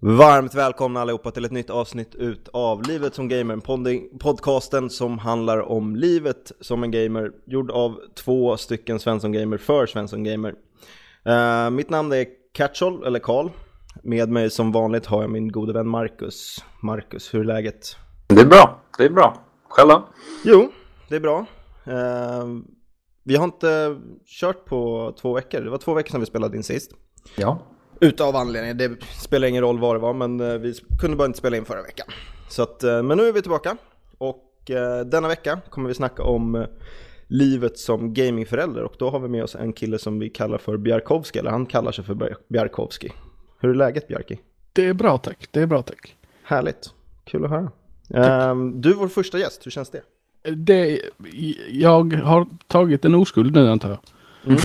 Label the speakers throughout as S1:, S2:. S1: Varmt välkomna allihopa till ett nytt avsnitt utav Livet som gamer, podding- podcasten som handlar om livet som en gamer, gjord av två stycken Svensson Gamer för Svensson Gamer. Eh, mitt namn är Katchol, eller Karl. Med mig som vanligt har jag min gode vän Marcus. Marcus, hur är läget?
S2: Det är bra, det är bra. Själv då?
S1: Jo, det är bra. Eh, vi har inte kört på två veckor, det var två veckor sedan vi spelade in sist.
S2: Ja.
S1: Utav anledning, det spelar ingen roll vad det var, men eh, vi kunde bara inte spela in förra veckan. Så att, eh, men nu är vi tillbaka och eh, denna vecka kommer vi snacka om eh, livet som gamingförälder och då har vi med oss en kille som vi kallar för Bjarkowski, eller han kallar sig för Bjar- Bjarkowski. Hur är läget Bjarki?
S3: Det är bra tack, det är bra tack.
S1: Härligt, kul att höra. Ehm, Du är vår första gäst, hur känns det?
S3: Det, jag har tagit en oskuld nu antar jag.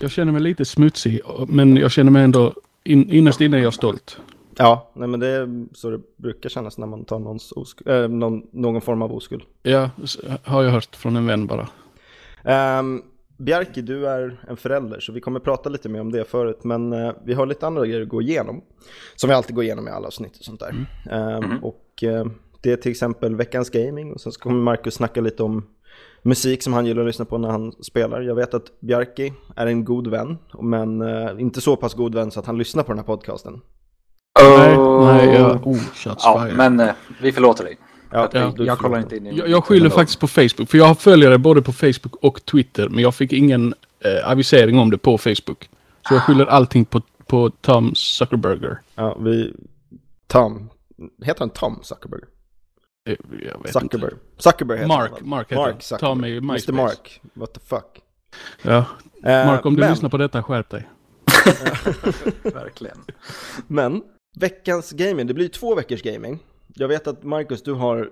S3: jag känner mig lite smutsig men jag känner mig ändå in, innerst inne är jag stolt.
S1: Ja, nej men det är så det brukar kännas när man tar någons oskuld, eh, någon, någon form av oskuld.
S3: Ja, s- har jag hört från en vän bara.
S1: Um, Bjarki, du är en förälder, så vi kommer prata lite mer om det förut, men eh, vi har lite andra grejer att gå igenom, som vi alltid går igenom i alla avsnitt och sånt där.
S2: Mm.
S1: Ehm, Och eh, det är till exempel veckans gaming, och sen så kommer Marcus snacka lite om musik som han gillar att lyssna på när han spelar. Jag vet att Bjarki är en god vän, men eh, inte så pass god vän så att han lyssnar på den här podcasten.
S3: Nej, nej, jag... Oh, shots
S2: Eh, Ja,
S3: fired.
S2: men eh, vi förlåter dig.
S1: Ja,
S2: jag,
S1: du-
S2: jag kollar inte in i...
S3: Jag, jag skyller faktiskt på Facebook, för jag har följare både på Facebook och Twitter, men jag fick ingen eh, avisering om det på Facebook. Så jag skyller allting på, på Tom Eh, Zuckerberger.
S1: Ja, vi... Tom. Heter han Tom Zuckerberg?
S3: Eh, Jag vet inte.
S1: Zuckerberg. Zuckerberg heter
S3: Mark,
S1: han. va?
S3: Mark heter han.
S1: Mark
S3: Ta mig i
S1: Zuckerberg. Mr
S3: MySpace.
S1: Mark. What the fuck.
S3: Ja.
S1: Eh,
S3: Mark, om du
S1: men,
S3: lyssnar på detta, skärp dig.
S2: Verkligen.
S1: Men, veckans gaming, det blir ju två veckors gaming. Jag vet att Marcus, du har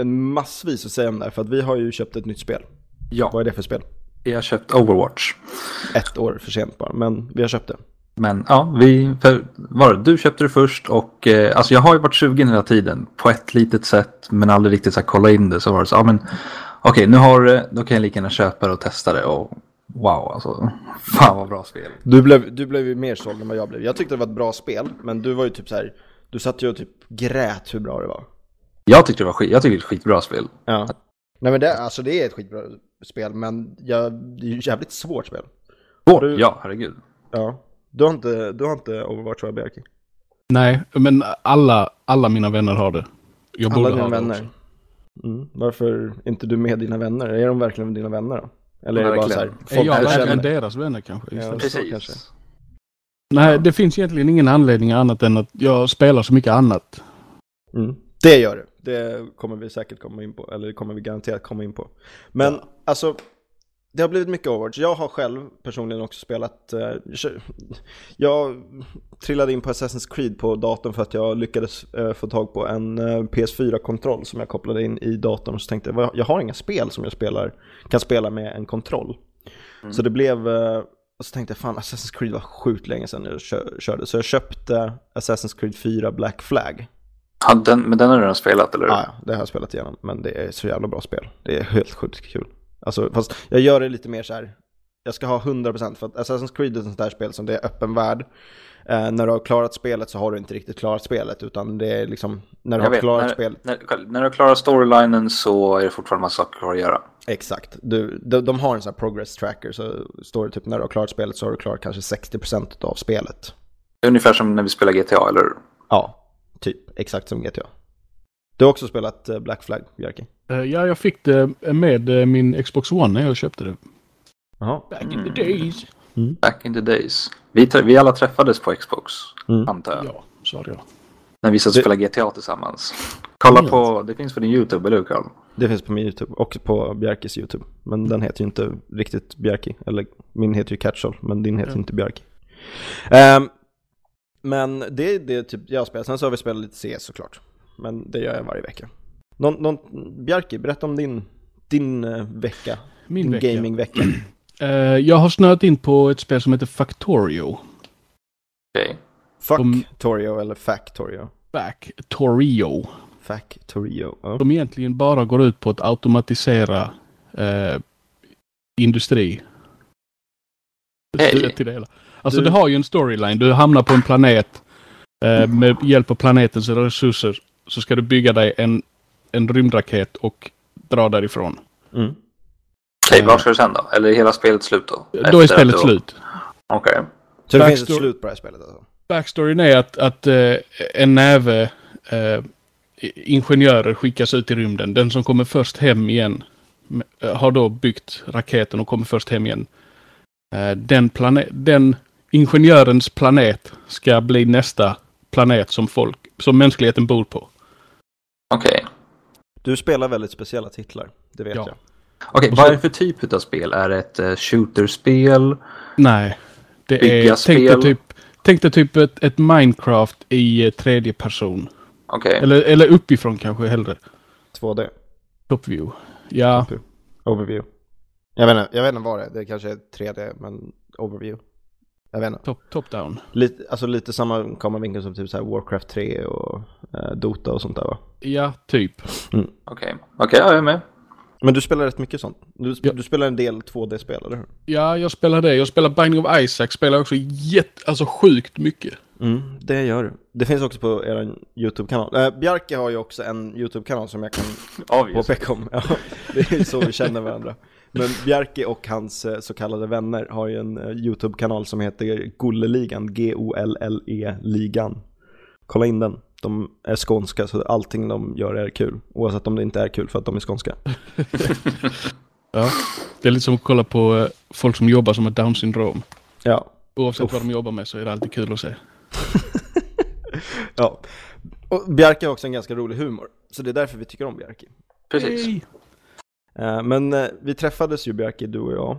S1: en massvis att säga om det här, för att vi har ju köpt ett nytt spel.
S2: Ja,
S1: Vad är det för spel?
S2: jag har köpt Overwatch.
S1: Ett år för sent bara, men vi har köpt det.
S2: Men ja, vi... För, var det? Du köpte det först och... Eh, alltså jag har ju varit sugen hela tiden. På ett litet sätt, men aldrig riktigt så här, kolla in det. Så var det så, ja men... Okej, nu har du det. Då kan jag lika gärna köpa det och testa det och... Wow, alltså. Fan vad bra spel.
S1: Du blev, du blev ju mer såld än vad jag blev. Jag tyckte det var ett bra spel, men du var ju typ så här, du satt ju och typ grät hur bra det var.
S2: Jag tyckte det var skit, jag tycker det är ett skitbra spel.
S1: Ja. Nej men det, alltså det är ett skitbra spel, men jag, det är ju ett jävligt svårt spel.
S2: Åh,
S1: du-
S2: ja, herregud.
S1: Ja. Du har inte, du har inte Overwatch va, Bjarki?
S3: Nej, men alla, alla mina vänner har det. Jag
S1: Alla
S3: borde
S1: dina
S3: ha det
S1: vänner?
S3: också.
S1: Mm. Varför inte du med dina vänner? Är de verkligen dina vänner då? Eller är det bara så här,
S2: Verkligen.
S1: folk
S3: Är jag
S1: du
S3: verkligen
S1: känner?
S3: deras vänner kanske?
S1: Ja.
S3: istället?
S1: Precis. kanske.
S3: Nej, det finns egentligen ingen anledning annat än att jag spelar så mycket annat.
S1: Mm. Det gör du. Det kommer vi säkert komma in på, eller det kommer vi garanterat komma in på. Men alltså, det har blivit mycket Overwatch. Jag har själv personligen också spelat, eh, kö- jag trillade in på Assassin's Creed på datorn för att jag lyckades eh, få tag på en eh, PS4-kontroll som jag kopplade in i datorn. Så tänkte jag, "Vad- jag har inga spel som jag spelar, kan spela med en kontroll. Så det blev, eh, och så tänkte jag fan Assassin's Creed var sjukt länge sedan jag kö- körde. Så jag köpte Assassin's Creed 4 Black Flag.
S2: Ja, den, men den har du redan spelat, eller hur?
S1: Ja, ja, det har jag spelat igenom, men det är så jävla bra spel. Det är helt sjukt kul. Alltså, fast jag gör det lite mer så här, jag ska ha 100% för att Assassin's Creed är ett sånt där spel som det är öppen värld. Eh, när du har klarat spelet så har du inte riktigt klarat spelet, utan det är liksom, när du
S2: Jag
S1: har
S2: vet,
S1: klarat
S2: när,
S1: spelet,
S2: När, när du klarar storylinen så är det fortfarande massa saker kvar att göra.
S1: exakt. Du, de, de har en sån här progress tracker, så står det typ när du har klarat spelet så har du klarat kanske 60% av spelet.
S2: Det är ungefär som när vi spelar GTA, eller hur?
S1: Ja, typ exakt som GTA. Du har också spelat eh, Black Flag, Bjerke?
S3: Eh, Ja, jag fick det med eh, min Xbox One när jag köpte det.
S1: Jaha.
S3: Back in the days.
S2: Back in the days. Vi, trä- vi alla träffades på Xbox,
S1: Mm.
S2: antar jag.
S3: Ja, sa jag.
S2: När vi satt och
S1: Det-
S2: spelade GTA tillsammans. Kolla på, det finns på din YouTube, eller hur Carl?
S1: Det finns på min YouTube, också på Bjerkis YouTube. Men den heter ju inte riktigt Bjerki. Eller min heter ju Catchall, men din heter inte Bjerki. Ehm, men det är det typ jag spelar. Sen så har vi spelat lite CS såklart. Men det gör jag varje vecka. Någon, någon, Bjerki, berätta om din, din eh, vecka.
S3: Min
S1: din
S3: vecka.
S1: gamingvecka.
S3: Eh, Jag har snöat in på ett spel som heter Factorio.
S2: Okej.
S3: Om-
S1: Factorio eller Factorio?
S3: Factorio.
S1: Factorio. Ja.
S3: Som egentligen bara går ut på att automatisera eh, industri.
S2: Hej.
S3: Stöd Till det hela. Alltså
S1: Du-
S3: det har ju en storyline. Du hamnar på en planet Eh, med hjälp av planetens resurser så ska du bygga dig en, en rymdraket och dra därifrån.
S1: Mm.
S2: Okej, vart ska du sen då? Eller är hela spelet slut då?
S3: Då
S2: Efter
S3: är
S2: att
S3: spelet
S2: du-
S3: slut.
S2: Okej.
S1: Så det
S3: Backstory-
S1: finns ett slut på det här spelet alltså?
S3: Backstoryn är att, att eh, en näve eh, ingenjörer skickas ut i rymden. Den som kommer först hem igen eh, har då byggt raketen och kommer först hem igen. Eh, den, plane- den ingenjörens planet ska bli nästa planet som folk, som mänskligheten bor på.
S2: Okej.
S1: Du spelar väldigt speciella titlar, det vet
S3: Ja.
S1: jag.
S2: Okej,
S3: Och så-
S2: vad är det för typ av spel? Är det ett eh, shooterspel?
S3: Nej, det
S2: Bygga
S3: är, tänk dig
S2: spel.
S3: typ, tänk dig typ ett, ett Minecraft i eh, tredje person.
S2: Okej.
S3: Eller, eller uppifrån kanske hellre.
S1: 2D,
S3: Top view. Ja,
S1: overview. Jag vet, inte, jag vet inte vad det är, det kanske är 3D, men overview. Jag vet inte.
S3: top, top down.
S1: Lite, alltså lite samma kameravinkel som typ så här Warcraft 3 och eh, Dota och sånt där va?
S3: Ja, typ.
S2: Okej, Okej, ja, jag är med.
S1: Men du spelar rätt mycket sånt. Du, sp-
S3: Ja.
S1: du spelar en del 2D-spel, eller hur?
S3: Ja, jag spelar det. Jag spelar Binding of Isaac. Spelar också jätte, alltså sjukt mycket.
S1: Mm, det gör du. Det finns också på er YouTube-kanal. Eh, Bjarke har ju också en YouTube-kanal som jag kan
S2: Obvious.
S1: påpeka om. Ja, det är ju så vi känner varandra. Men Bjarke och hans eh, så kallade vänner har ju en eh, YouTube-kanal som heter Golleligan, G-O-L-L-E-ligan. Kolla in den. De är skånska så allting de gör är kul. Oavsett om det inte är kul för att de är skånska.
S3: Ja. Det är lite som att kolla på eh, folk som jobbar som har down syndrom.
S1: Ja,
S3: Oavsett vad de jobbar med så är det alltid kul att se.
S1: ja. Och Bjarke har också en ganska rolig humor. Så det är därför vi tycker om Bjarke.
S2: Precis.
S3: Hej.
S1: Eh, Men eh, vi träffades ju Bjarke, du och jag,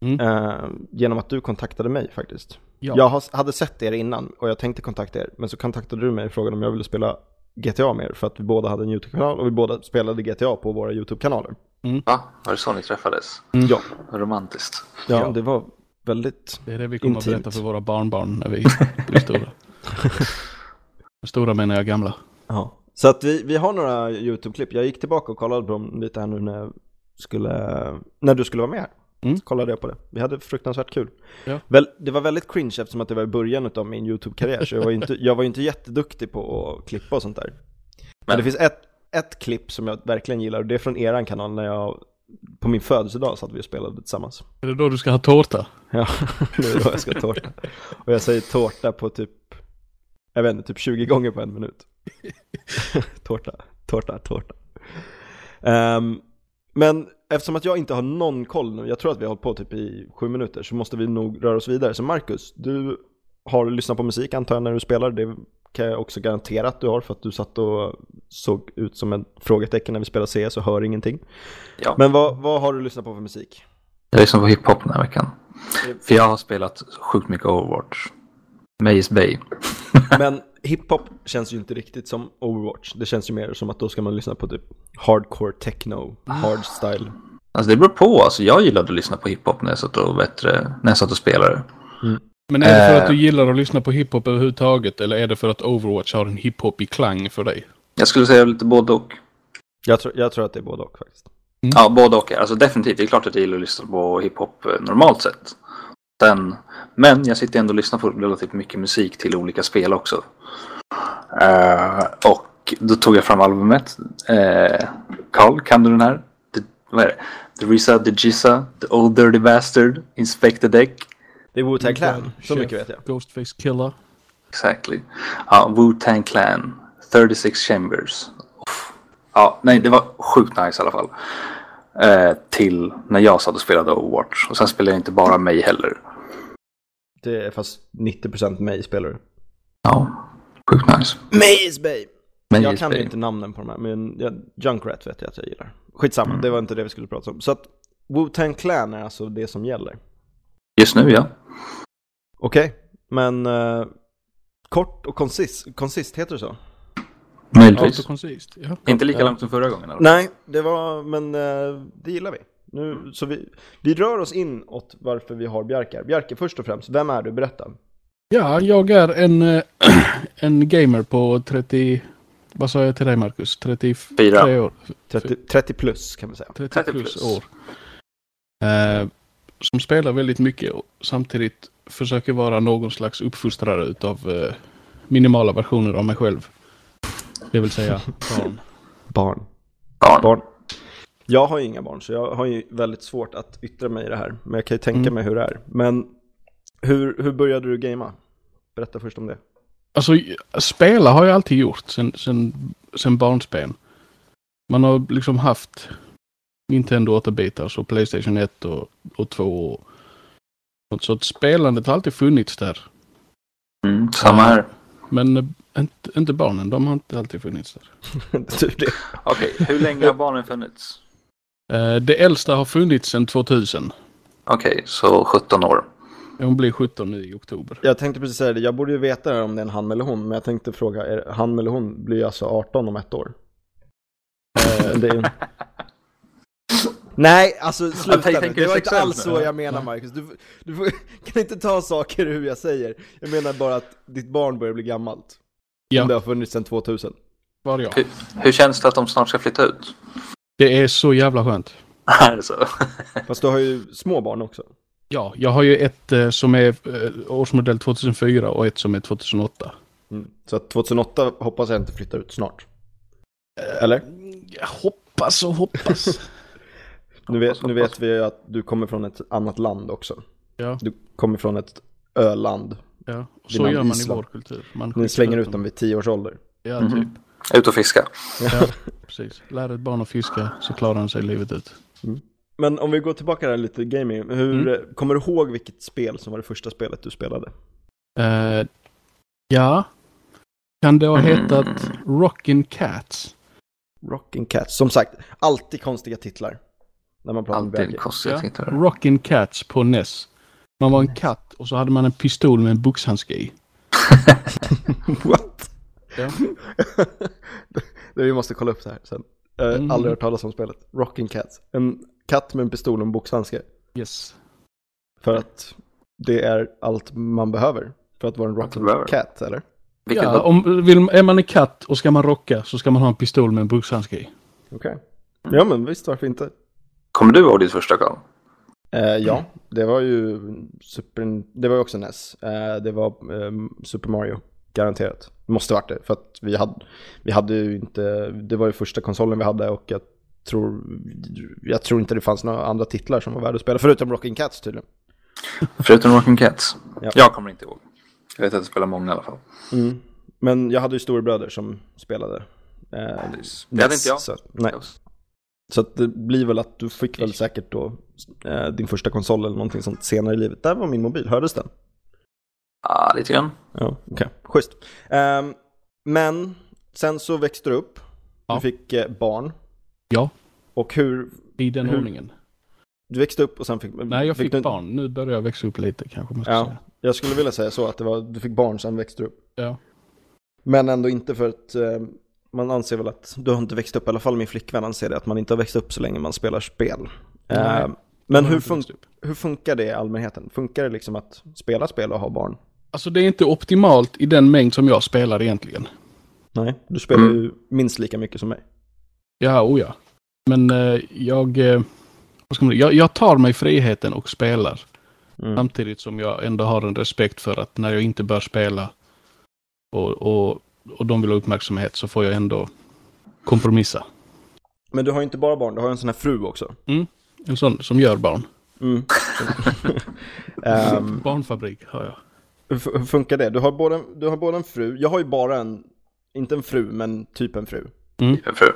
S3: Mm.
S1: eh, genom att du kontaktade mig faktiskt.
S3: Ja.
S1: Jag har- hade sett er innan och jag tänkte kontakta er, men så kontaktade du mig och frågade om jag ville spela GTA med er för att vi båda hade en YouTube-kanal och vi båda spelade GTA på våra YouTube-kanaler.
S2: Va? Var det så ni träffades?
S1: Ja.
S2: Romantiskt.
S1: ja,
S3: Ja.
S1: det var väldigt...
S3: Det är det vi kommer
S1: Intimt.
S3: att berätta för våra barnbarn när vi blir stora. Med stora menar jag gamla.
S1: Ja. Så att vi, vi har några YouTube-klipp. Jag gick tillbaka och kollade på dem lite här nu när, jag skulle, när du skulle vara med här.
S3: Mm.
S1: Kollade jag på det. Vi hade fruktansvärt kul.
S3: Ja.
S1: Väl, det var väldigt cringe eftersom att det var i början av min YouTube-karriär. Så jag var ju inte, jag var ju inte jätteduktig på att klippa och sånt där. Men,
S2: Men-
S1: det finns ett, ett klipp som jag verkligen gillar och det är från eran kanal när jag på min födelsedag satt vi och spelade tillsammans.
S3: Är det då du ska ha tårta?
S1: Ja, nu är det då jag ska ha tårta. Och jag säger tårta på typ, jag vet inte, typ 20 gånger på en minut. tårta, tårta, tårta. Ehm, men eftersom att jag inte har någon koll nu, jag tror att vi har hållit på typ i sju minuter, så måste vi nog röra oss vidare. Så Marcus, du har lyssnat på musik antar jag när du spelar, det kan jag också garantera att du har för att du satt och såg ut som ett frågetecken när vi spelade CS och hör ingenting.
S2: Ja.
S1: Men vad, vad har du lyssnat på för musik?
S2: Jag lyssnar på hiphop den här veckan. För jag har spelat sjukt mycket Overwatch. Maze Bay.
S1: Men hiphop känns ju inte riktigt som Overwatch. Det känns ju mer som att då ska man lyssna på typ hardcore techno, hardstyle.
S2: Alltså det beror på. Alltså jag gillade att lyssna på hiphop när jag satt och, bättre, när jag satt och spelade.
S3: Men är det för att du
S2: Eh.
S3: gillar att lyssna på hiphop överhuvudtaget? Eller är det för att Overwatch har en hiphopig klang för dig?
S2: Jag skulle säga lite både och.
S1: Jag, tror- jag tror att det är både och faktiskt.
S2: Ja, både och. Alltså definitivt. Det är klart att jag gillar att lyssna på hiphop eh, normalt sett. Sen, men jag sitter ändå och lyssnar på relativt mycket musik till olika spel också. Eh, och då tog jag fram albumet. Eh, Carl, kan du den här? The, vad är det? The Risa, The Gisa, The Old Dirty Bastard, Inspect the Deck.
S1: Det är Wu-Tang Clan, så
S3: Chef,
S1: mycket vet jag.
S3: Ghostface Killer.
S2: Exactly. Ja, Wu-Tang Clan, 36 Chambers. Uff. Ja, nej, det var sjukt nice i alla fall. Eh, till när jag satt och spelade Overwatch. Och sen spelade jag inte bara mig heller.
S1: Det är fast 90% mig spelar du.
S2: Ja, sjukt nice.
S1: Maze Bay!
S2: Men
S1: Jag
S2: JSP.
S1: kan ju inte namnen på de här, men jag, Junkrat vet jag att jag gillar. Skitsamma, det var inte det vi skulle prata om. Så att Wu-Tang Clan är alltså det som gäller.
S2: Just nu ja.
S1: Okej, men eh, kort och koncis, konsist, heter det så?
S2: Möjligtvis.
S3: Autokoncist. Ja.
S2: inte lika långt som förra gången. Eller?
S1: Nej, det var, men eh, det gillar vi. Nu, så vi, vi rör oss inåt varför vi har Bjarke här. Bjarke, först och främst, vem är du? Berätta.
S3: ja, jag är en, eh, en gamer på 30... Vad sa jag till dig Marcus? 34
S2: Fyra.
S3: år?
S1: 30, 30 plus kan man säga.
S3: 30,
S2: 30
S3: plus,
S2: plus.
S3: år. Eh, som spelar väldigt mycket och samtidigt försöker vara någon slags uppfostrare utav eh, minimala versioner av mig själv. Det vill säga barn.
S1: Barn.
S2: Barn.
S1: barn. Jag har ju inga barn, så jag har ju väldigt svårt att yttra mig i det här. Men jag kan ju tänka mig hur det är. Men hur, hur började du gamea? Berätta först om det.
S3: Alltså, spela har jag alltid gjort sen, sen, sen barnsben. Man har liksom haft Nintendo 8-bitars och Playstation 1 och, och 2. Och, och så att spelandet har alltid funnits där.
S2: Mm, samma här.
S3: Men eh, inte, inte barnen, de har inte alltid funnits där.
S1: Tur Typ det.
S2: Okej, hur länge har barnen funnits?
S3: Eh, Det äldsta har funnits sedan 2000.
S2: Okej, så 17 år.
S3: Hon blir 17 nu i oktober.
S1: Jag tänkte precis säga det, jag borde ju veta det här om det är en han eller hon. Men jag tänkte fråga, är han eller hon blir ju alltså 18 om ett år? Eh, det är... Nej, alltså
S2: Jag
S1: sluta
S2: tänker
S1: nu. Det var inte
S2: sexuellt
S1: alls
S2: nu.
S1: så jag menar Marcus. Du, du får- kan inte ta saker hur jag säger. Jag menar bara att ditt barn börjar bli gammalt.
S3: Ja.
S1: Om det har funnits sedan 2000.
S3: Var jag.
S2: Hur, hur känns det att de snart ska flytta ut?
S3: Det är så jävla skönt.
S2: alltså.
S1: Fast du har ju små barn också.
S3: Ja, jag har ju ett eh, som är eh, årsmodell 2004 och ett som är 2008.
S1: Mm. Så att 2008 hoppas jag inte flyttar ut snart. Eh, Eller?
S3: Jag hoppas och hoppas.
S1: Nu vet,
S2: Hoppas,
S1: nu
S2: hoppas.
S1: vet vi ju att du kommer från ett annat land också.
S3: ja,
S1: Du kommer från ett öland.
S3: ja. Och
S1: Det
S3: så
S1: är
S3: gör man i
S1: Island.
S3: vår kultur. Man skickar
S1: Ni slänger ut dem vid 10 års ålder.
S3: Ja,
S2: Mhm.
S3: typ.
S2: ut och fiska.
S3: Ja, precis. Lär ett barn att fiska så klarar han sig livet ut.
S1: Men om vi går tillbaka där lite i gaming. Hur, Kommer du ihåg vilket spel som var det första spelet du spelade?
S3: Eh, ja. Kan det ha hetat Rockin' Cats?
S1: Rockin' Cats. Som sagt, alltid konstiga titlar. När man pratar om
S2: Alltid
S1: böger.
S2: konstigt.
S3: Ja.
S2: tittar.
S3: Rockin' Cats på NES. Man var en katt och så hade man en pistol med en boxhandske i.
S1: What?
S3: Ja.
S1: Det- vi måste kolla upp det här sen. Uh,
S3: Mm.
S1: Aldrig hört talas om spelet. Rockin' Cats. En katt med en pistol och en boxhandske.
S3: Yes.
S1: För att det är allt man behöver för att vara en
S2: Allt man behöver.
S1: rocket cat, eller?
S2: Vilket
S3: Ja,
S2: var-
S3: om, vill, är man en katt och ska man rocka så ska man ha en pistol med en boxhandske i.
S1: Okej. Ja, men visst, varför inte?
S2: Kommer du ihåg ditt första Carl?
S1: Eh,
S2: Mm.
S1: ja, det var ju Super... Det var ju också NES. Eh, det var eh, Super Mario, garanterat. Det måste varit det, för att vi hade, vi hade ju inte... Det var ju första konsolen vi hade och jag tror, jag tror inte det fanns några andra titlar som var värda att spela, förutom Rockin' Cats tydligen.
S2: Förutom Rockin' Cats?
S1: Ja.
S2: Jag kommer inte ihåg. Jag vet att jag spelar många i alla fall. Mm.
S1: Men jag hade ju storebröder som spelade. Eh,
S2: Det hade
S1: NES,
S2: inte jag.
S1: Så, nej. Så att det blir väl att du fick väl säkert då eh, din första konsol eller någonting sånt senare i livet. Där var min mobil, hördes den?
S2: Ja, Ah, lite grann.
S1: Ja, okej. Schysst. Ehm, men sen så växte du upp.
S3: Ja.
S1: Du fick eh, barn.
S3: Ja.
S1: Och hur,
S3: I den
S1: Hur-
S3: ordningen.
S1: du växte upp och sen fick...
S3: Nej, jag fick,
S1: du,
S3: barn. Nu börjar jag växa upp lite kanske man ska
S1: Ja,
S3: säga.
S1: jag skulle vilja säga så att det var, du fick barn, sen växte du upp.
S3: Ja.
S1: Men ändå inte för att eh, man anser väl att du har inte växt upp, i alla fall min flickvän anser det, att man inte har växt upp så länge man spelar spel.
S3: Nej,
S1: Ehm,
S3: jag
S1: men
S3: har
S1: hur,
S3: inte
S1: fun-
S3: växt upp.
S1: hur funkar det i allmänheten? Funkar det liksom att spela spel och ha barn?
S3: Alltså det är inte optimalt i den mängd som jag spelar egentligen.
S1: Nej, du spelar ju minst lika mycket som mig.
S3: Ja, oh ja. Men eh, jag, eh, vad ska man, jag... Jag tar mig friheten och spelar.
S1: Mm.
S3: Samtidigt som jag ändå har en respekt för att när jag inte bör spela och, och, och de vill ha uppmärksamhet så får jag ändå kompromissa.
S1: Men du har ju inte bara barn, du har ju en sån här fru också.
S3: En sån som gör barn.
S1: Mm. Ehm,
S3: Barnfabrik har jag.
S1: hur fu- hur funkar det? Du har, både, du har både en fru, jag har ju bara en, inte en fru, men typ en fru.
S2: Min fru.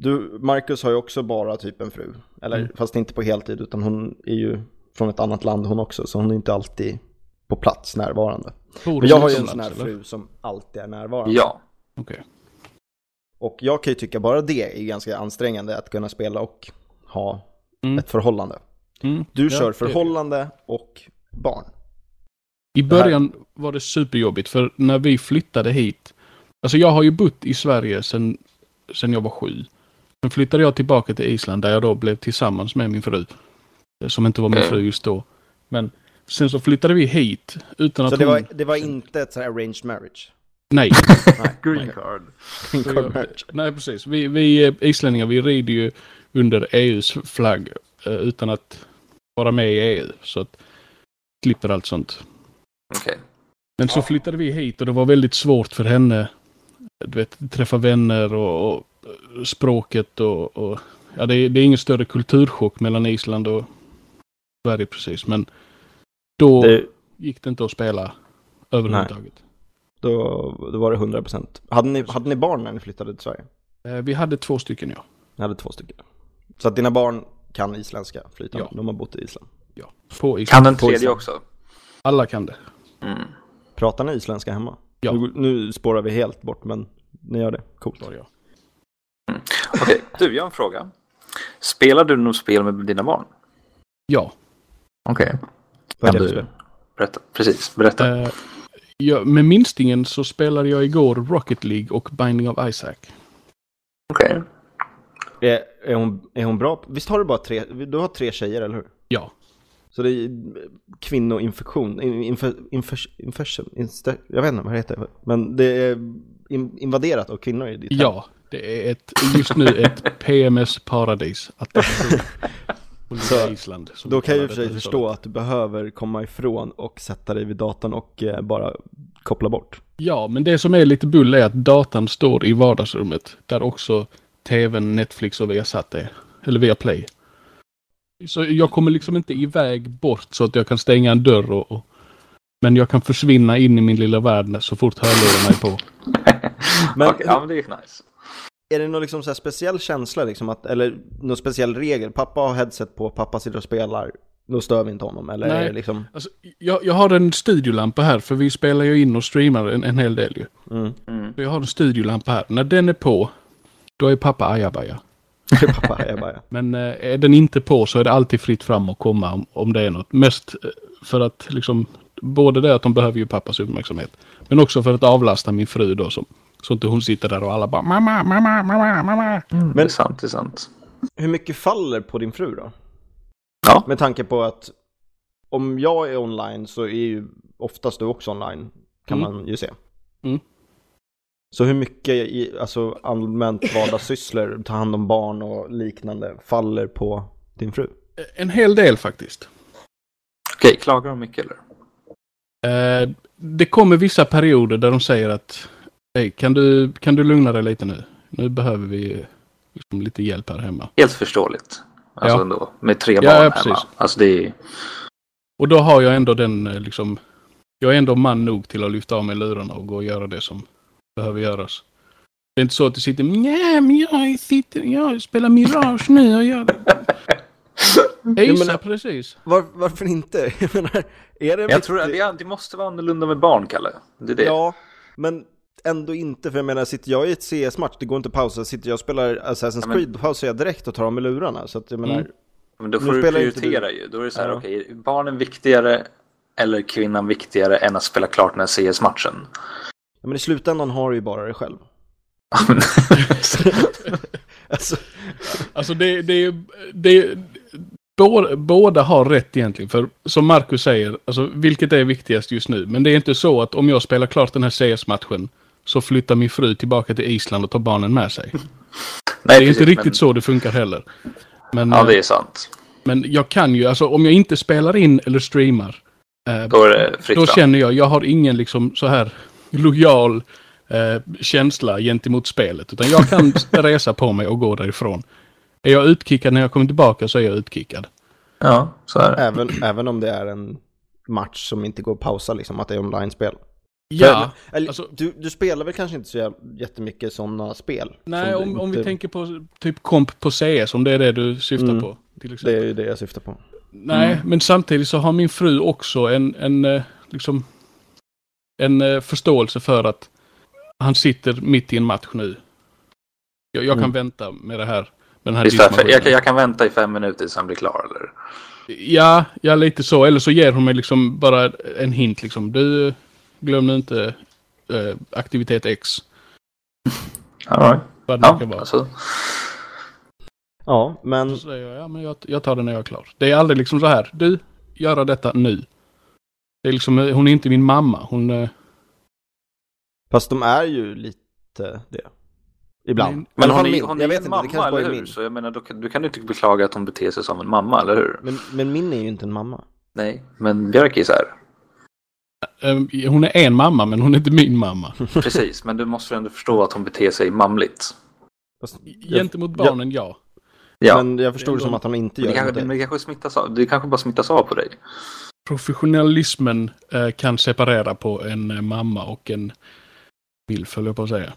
S1: Du, Marcus har ju också bara typ en fru. Eller
S3: Mm.
S1: fast inte på heltid, utan hon är ju från ett annat land hon också, så hon är inte alltid på plats närvarande.
S3: Bor
S1: Men
S3: hon
S1: jag har ju en sån
S3: utomlands,
S1: här
S3: eller?
S1: fru som alltid är närvarande.
S2: Ja.
S3: Okej.
S1: Och jag kan ju tycka bara det är ganska ansträngande att kunna spela och ha
S3: Mm.
S1: ett förhållande.
S3: Mm.
S1: Du
S3: Ja, det är
S1: kör
S3: det.
S1: förhållande och barn.
S3: I början var det superjobbigt för när vi flyttade hit. Alltså jag har ju bott i Sverige sedan sen jag var sju. Sen flyttade jag tillbaka till Island där jag då blev tillsammans med min fru. eh, Som inte var min
S2: Mm.
S3: fru just då. Men sen så flyttade vi hit utan
S1: Så
S3: att
S1: det var,
S3: hon...
S1: det var inte ett sånt här arranged marriage?
S3: Nej.
S2: Green card.
S3: Så jag, nej, precis. Vi, vi eh, islänningar, vi rider ju under EUs flagg eh, utan E att vara med i EU. Så att slipper allt sånt.
S2: Okej.
S3: Men så flyttade vi hit och det var väldigt svårt för henne. Du vet, träffa vänner och, och språket och, och ja, det, är- det är ingen större kulturchock mellan Island och Sverige precis. Men då
S1: Det,
S3: gick det inte att spela överhuvudtaget.
S1: då, då var det 100%. Hade ni, hade ni barn när ni flyttade till Sverige?
S3: Eh, Vi hade två stycken ja.
S1: Ni hade två stycken. Så att dina barn kan isländska flytande?
S3: Ja.
S1: De har bott i Island.
S3: ja. På Island.
S2: Kan den tredje
S1: Island.
S2: också?
S3: Alla kan det.
S2: Mm.
S1: Pratar ni isländska hemma?
S3: Ja.
S1: Nu, nu spårar vi helt bort, men ni gör det. Coolt.
S3: Var jag.
S2: Okej, du, jag har en fråga. Spelar du något spel med dina barn?
S3: Ja.
S2: Okej,
S1: Vad
S2: Kan
S1: heter
S2: du-
S1: det?
S2: berätta. Precis, berätta.
S3: Eh, ja. Med minstingen så spelade jag igår Rocket League och Binding of Isaac.
S2: Okej.
S1: Är, är, hon, är hon bra? på- Visst har du bara tre, du har tre tjejer, eller hur?
S3: Ja.
S1: Så det är eh, kvinnoinfektion, in- infer, infers, infection, inste, jag vet inte vad det heter, men det är in, invaderat av kvinnor i ditt hem.
S3: Ja. Det är ett, just nu ett PMS-paradis. Att det är på lilla Island. som
S1: Då
S3: vi
S1: kan jag i och
S3: kallar
S1: för sig
S3: det.
S1: förstå att du behöver komma ifrån och sätta dig vid datorn och eh, bara koppla bort.
S3: Ja, men det som är lite bull är att datan står i vardagsrummet. Där också tvn, Netflix och Viasat är. Eller Viaplay. Så jag kommer liksom inte iväg bort så att jag kan stänga en dörr och... och men jag kan försvinna in i min lilla värld när- så fort hörlurarna är på.
S1: Men
S2: Okej, ja, men det är ju nice.
S1: är det någon liksom så här speciell känsla, liksom att, eller någon speciell regel? Pappa har headset på, pappa sitter och spelar, då stör vi inte honom. Eller
S3: Nej.
S1: är det liksom,
S3: Alltså, jag, jag har en studiolampa här för vi spelar ju in och streamar en, en hel del ju.
S1: mm,
S2: Mm.
S3: Så jag har en studiolampa här. När den är på, då är pappa ajabaja.
S1: pappa är bara,
S3: Men eh, är den inte på så är det alltid fritt fram att komma om, om det är något. Mest eh, för att liksom, både det att de behöver ju pappas uppmärksamhet. Men också för att avlasta min fru då som, så inte hon sitter där och alla bara mamma, mamma, mamma, mamma. Eh,
S2: Men... Det är sant, det är sant.
S1: Hur mycket faller på din fru då?
S2: Ja.
S1: Med tanke på att om jag är online så är ju oftast du också online, kan
S3: Mm.
S1: man ju se.
S3: Mm.
S1: Så hur mycket i, alltså allmänt vardagssysslor, ta hand om barn och liknande, faller på din fru?
S3: En hel del faktiskt.
S2: Okej, klagar de mycket eller?
S3: Eh, det kommer vissa perioder där de säger att Hej, kan du, kan du lugna dig lite nu? Nu behöver vi eh, liksom lite hjälp här hemma.
S2: Helt förståeligt. Alltså
S3: Ja.
S2: ändå, med tre
S3: Ja,
S2: barn
S3: ja,
S2: hemma.
S3: precis.
S2: Alltså det är ju...
S3: Och då har jag ändå den eh, liksom... Jag är ändå man nog till att lyfta av mig lurarna och gå och göra det som behöver göras. Det är inte så att du sitter nej men jag sitter, jag spelar Mirage nu och gör det. Ejsa,
S1: men-
S3: precis.
S1: Var, varför inte? Jag menar, är det
S2: Jag tror att det, är- det måste vara annorlunda med barn, Kalle. Det är det.
S1: Ja, men ändå inte, för jag menar, sitter jag i ett CS-match, det går inte att pausa, sitter jag och spelar Assassin's
S2: men-
S1: Creed, då pausar jag direkt och tar av mig lurarna, så att jag menar,
S2: Men då
S1: Nu
S2: får du
S1: spelar inte
S2: prioritera ju. Då är det så här, okej, barnen viktigare eller kvinnan viktigare än att spela klart den här CS-matchen?
S1: ja, men i slutändan har du ju bara dig själv.
S2: Ja, men-
S1: Alltså,
S3: Alltså det, det, det, båda, båda har rätt egentligen. För som Marcus säger, alltså vilket är viktigast just nu. Men det är inte så att om jag spelar klart den här CS-matchen så flyttar min fru tillbaka till Island och tar barnen med sig.
S2: Nej,
S3: Det är inte
S2: precis,
S3: riktigt
S2: men-
S3: så det funkar heller. Men,
S2: Ja, det är sant.
S3: men jag kan ju, alltså om jag inte spelar in eller streamar, eh,
S2: Då är det fritt
S3: då
S2: fram.
S3: känner jag, jag har ingen liksom så här lojal eh, känsla gentemot spelet. Utan jag kan resa på mig och gå därifrån. Är jag utkickad när jag kommer tillbaka så är jag utkickad.
S2: Ja, så är det.
S1: även, även om det är en match som inte går att pausa, liksom, att det är online-spel.
S3: Ja,
S1: För- Eller,
S3: alltså-
S1: du, du spelar väl kanske inte så jäv- jättemycket sådana spel?
S3: nej
S1: Som du
S3: om, om vi
S1: inte-
S3: tänker på typ komp på CS, om det är det du syftar
S1: Mm.
S3: på. Till
S1: Det
S3: exempel.
S1: är ju det jag syftar på.
S3: Nej,
S2: Mm.
S3: men samtidigt så har min fru också en, en, eh, liksom, en eh, förståelse för att han sitter mitt i en match nu. Jag, jag kan
S1: Mm.
S3: vänta med det här. Med den här
S2: Visst, är det för- jag,
S3: diskmaskinen.
S2: kan- jag kan vänta i fem minuter tills han blir klar, eller?
S3: Ja, ja, lite så. Eller så ger hon mig liksom bara en hint liksom. Du, glöm nu inte eh, aktivitet X.
S2: All right.
S3: Vad det nu kan
S2: Ja,
S3: vara.
S2: alltså.
S1: Ja, men
S3: Så säger jag, ja men jag, jag tar det när jag är klar. Det är aldrig liksom så här, du, göra detta nu. Det är liksom, eh, hon är inte min mamma. Hon... eh,
S1: fast de är ju lite det. Ibland.
S3: Men-
S1: I
S2: Men
S1: alla
S2: hon
S1: fall
S2: är,
S1: min.
S2: hon
S1: jag
S2: är
S1: vet
S2: en
S1: inte, det
S2: mamma,
S1: kanske bara
S2: eller
S1: är
S2: hur?
S1: min.
S2: Så jag menar, då, kan- du kan ju inte beklaga att hon beter sig som en mamma, eller hur?
S1: Men, men min är ju inte en mamma.
S2: Nej, men Björkis är.
S3: eh, hon är en mamma men hon är inte min mamma.
S2: Precis, men du måste ändå förstå att hon beter sig mamligt.
S1: Fast jag,
S3: Gentemot barnen, Mm. ja.
S2: Ja, men,
S1: men jag förstod det som att han inte
S2: det,
S1: gör
S2: kanske,
S1: det.
S2: men det, kanske smittas av, det kanske bara smittas av på dig.
S3: Professionalismen eh, kan separera på en eh, mamma och en milf, höll jag på att säga.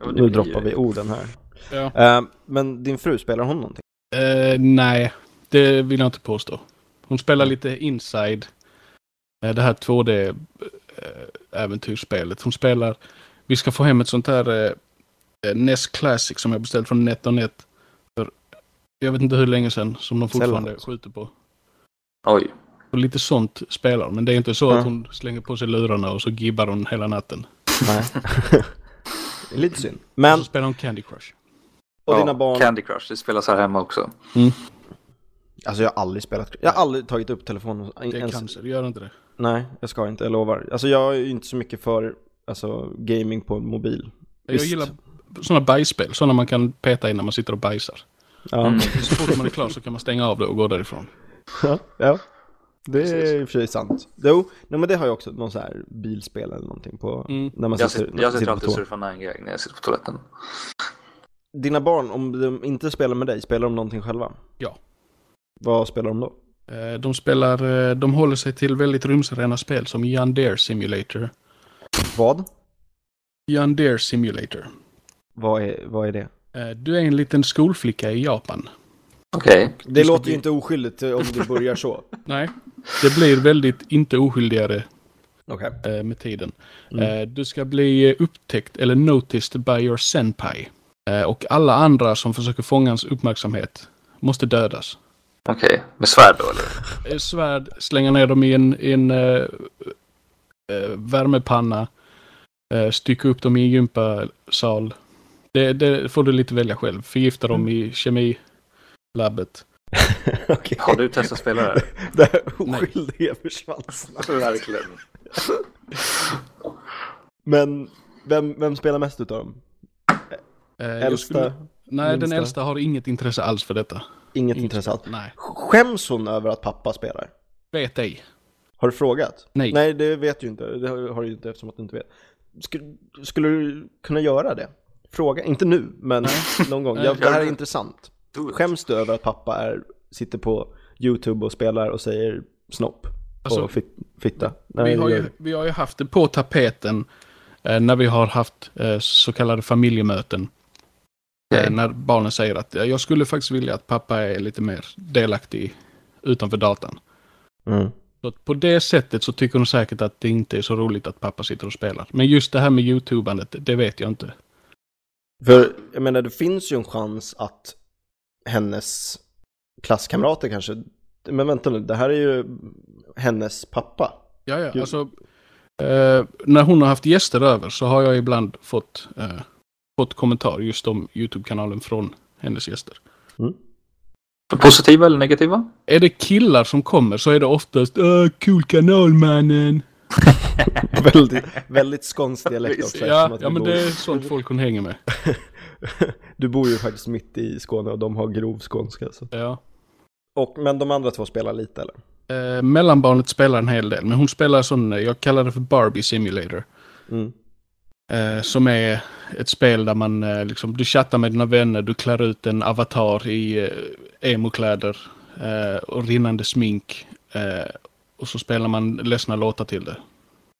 S2: Och
S1: Nu
S2: det blir
S1: droppar
S2: ju-
S1: vi orden här.
S3: Ja.
S1: Eh, men din fru, spelar hon någonting?
S3: Eh, nej, det vill jag inte påstå. Hon spelar lite inside. eh, Det här 2D-äventyrsspelet. Hon spelar... Vi ska få hem ett sånt här eh, eh, NES Classic som jag beställt från NetOnNet. För jag vet inte hur länge sedan som de fortfarande
S1: Sällan.
S3: skjuter på.
S2: Oj.
S3: Och lite sånt spelar hon, Men det är inte så
S1: Mm.
S3: att hon slänger på sig lurarna och så gibbar hon hela natten.
S1: Nej. Det är Lite synd. Men,
S3: Och så spelar hon Candy Crush.
S1: och
S2: Ja,
S1: dina barn?
S2: Candy Crush, det spelas här hemma också.
S1: Alltså jag har aldrig spelat, jag har aldrig tagit upp telefonen.
S3: Det är
S1: ens-
S3: cancer, gör inte det?
S1: Nej, jag ska inte, jag lovar. Alltså jag är ju inte så mycket för alltså, gaming på mobil.
S3: Jag
S1: Visst.
S3: gillar sådana bajsspel. Sådana man kan peta i när man sitter och bajsar.
S1: Ja,
S2: Mm.
S3: Så fort man är klar så kan man stänga av det och gå därifrån.
S1: ja. det
S2: Precis.
S1: är i och för sig sant. Jo, nej, men det har jag också, någon så här bilspel eller någonting på.
S3: Mm.
S1: När man
S2: Jag
S1: sitter,
S2: sitter, jag sitter
S1: på
S2: alltid och
S1: toa.
S2: surfar 9gag när jag sitter på toaletten.
S1: Dina barn, om de inte spelar med dig, spelar de någonting själva?
S3: Ja.
S1: Vad spelar de då?
S3: Eh, De spelar, eh, de håller sig till väldigt rumsrena spel som Jan Deere Simulator.
S1: Vad?
S3: Jan Deere Simulator.
S1: Vad är, vad är det?
S3: Eh, Du är en liten skolflicka i Japan.
S2: Okej.
S1: Det
S3: ska
S1: låter
S3: bli-
S1: ju inte oskyldigt eh, om det börjar så.
S3: Nej, det blir väldigt inte oskyldigare
S1: Okej.
S3: eh, med tiden.
S1: Mm.
S3: Eh, Du ska bli eh, upptäckt eller noticed by your senpai. Eh, Och alla andra som försöker fånga hans uppmärksamhet måste dödas.
S2: Okej. Med svärd då eller?
S3: Eh, Svärd, slänga ner dem i en, i en eh, eh, värmepanna. Eh, stycka upp dem i en gympasal. Det, det får du lite välja själv. Förgifta
S1: Mm.
S3: dem i kemilabbet.
S1: Okej.
S2: Har du testat spela det här?
S1: Det här oskyldiga försvann snabbt.
S2: Verkligen.
S1: Men vem, vem spelar mest utav dem?
S3: Eh, jag
S1: Äldsta?
S3: skulle- nej, den
S1: minsta?
S3: äldsta har inget intresse alls för detta.
S1: Inget
S3: Inget
S1: intressant.
S3: Nej,
S1: Skäms hon över att pappa spelar?
S3: vet ej.
S1: Har du frågat?
S3: Nej.
S1: Nej, det vet du inte. Det har har du inte eftersom att du inte vet. Skulle, skulle du kunna göra det? Fråga, inte nu, men någon gång.
S3: Nej.
S1: Jag, det här är intressant.
S2: Do it.
S1: Skäms du över att pappa är, sitter på YouTube och spelar och säger snopp
S3: Alltså,
S1: och fit, fitta?
S3: Vi
S1: Nej,
S3: har,
S1: jag-
S3: ju, vi har ju haft det på tapeten eh, när vi har haft eh, så kallade familjemöten.
S2: Okej.
S3: Eh, när barnen säger att eh, jag skulle faktiskt vilja att pappa är lite mer delaktig utanför datan.
S1: Mm.
S3: Så att på det sättet så tycker de säkert att det inte är så roligt att pappa sitter och spelar. Men just det här med youtubandet, det vet jag inte.
S1: För jag menar, det finns ju en chans att hennes klasskamrater kanske, men vänta nu, det här är ju hennes pappa.
S3: Ja, ja,
S1: Jo.
S3: alltså. Eh, när hon har haft gäster över så har jag ibland fått, eh, fått kommentar just om YouTube-kanalen från hennes gäster.
S2: Positiva eller negativa?
S3: Är det killar som kommer så är det oftast Åh, cool kanal mannen.
S1: väldigt, väldigt skånsk dialekt också. eftersom
S3: Ja,
S1: att
S3: ja,
S1: vi
S3: men
S1: bor-
S3: det är sånt folk hon hänger med.
S1: Du bor ju faktiskt mitt i Skåne och de har grov skånska. Så.
S3: Ja.
S1: Och, men de andra två spelar lite eller?
S3: Eh, mellanbarnet spelar en hel del, men hon spelar sån, eh, jag kallar det för Barbie Simulator.
S1: Mm.
S3: Eh, som är ett spel där man eh, liksom, du chattar med dina vänner, du klär ut en avatar i eh, emokläder eh, och rinnande smink. Eh, och så spelar man ledsna låtar till det.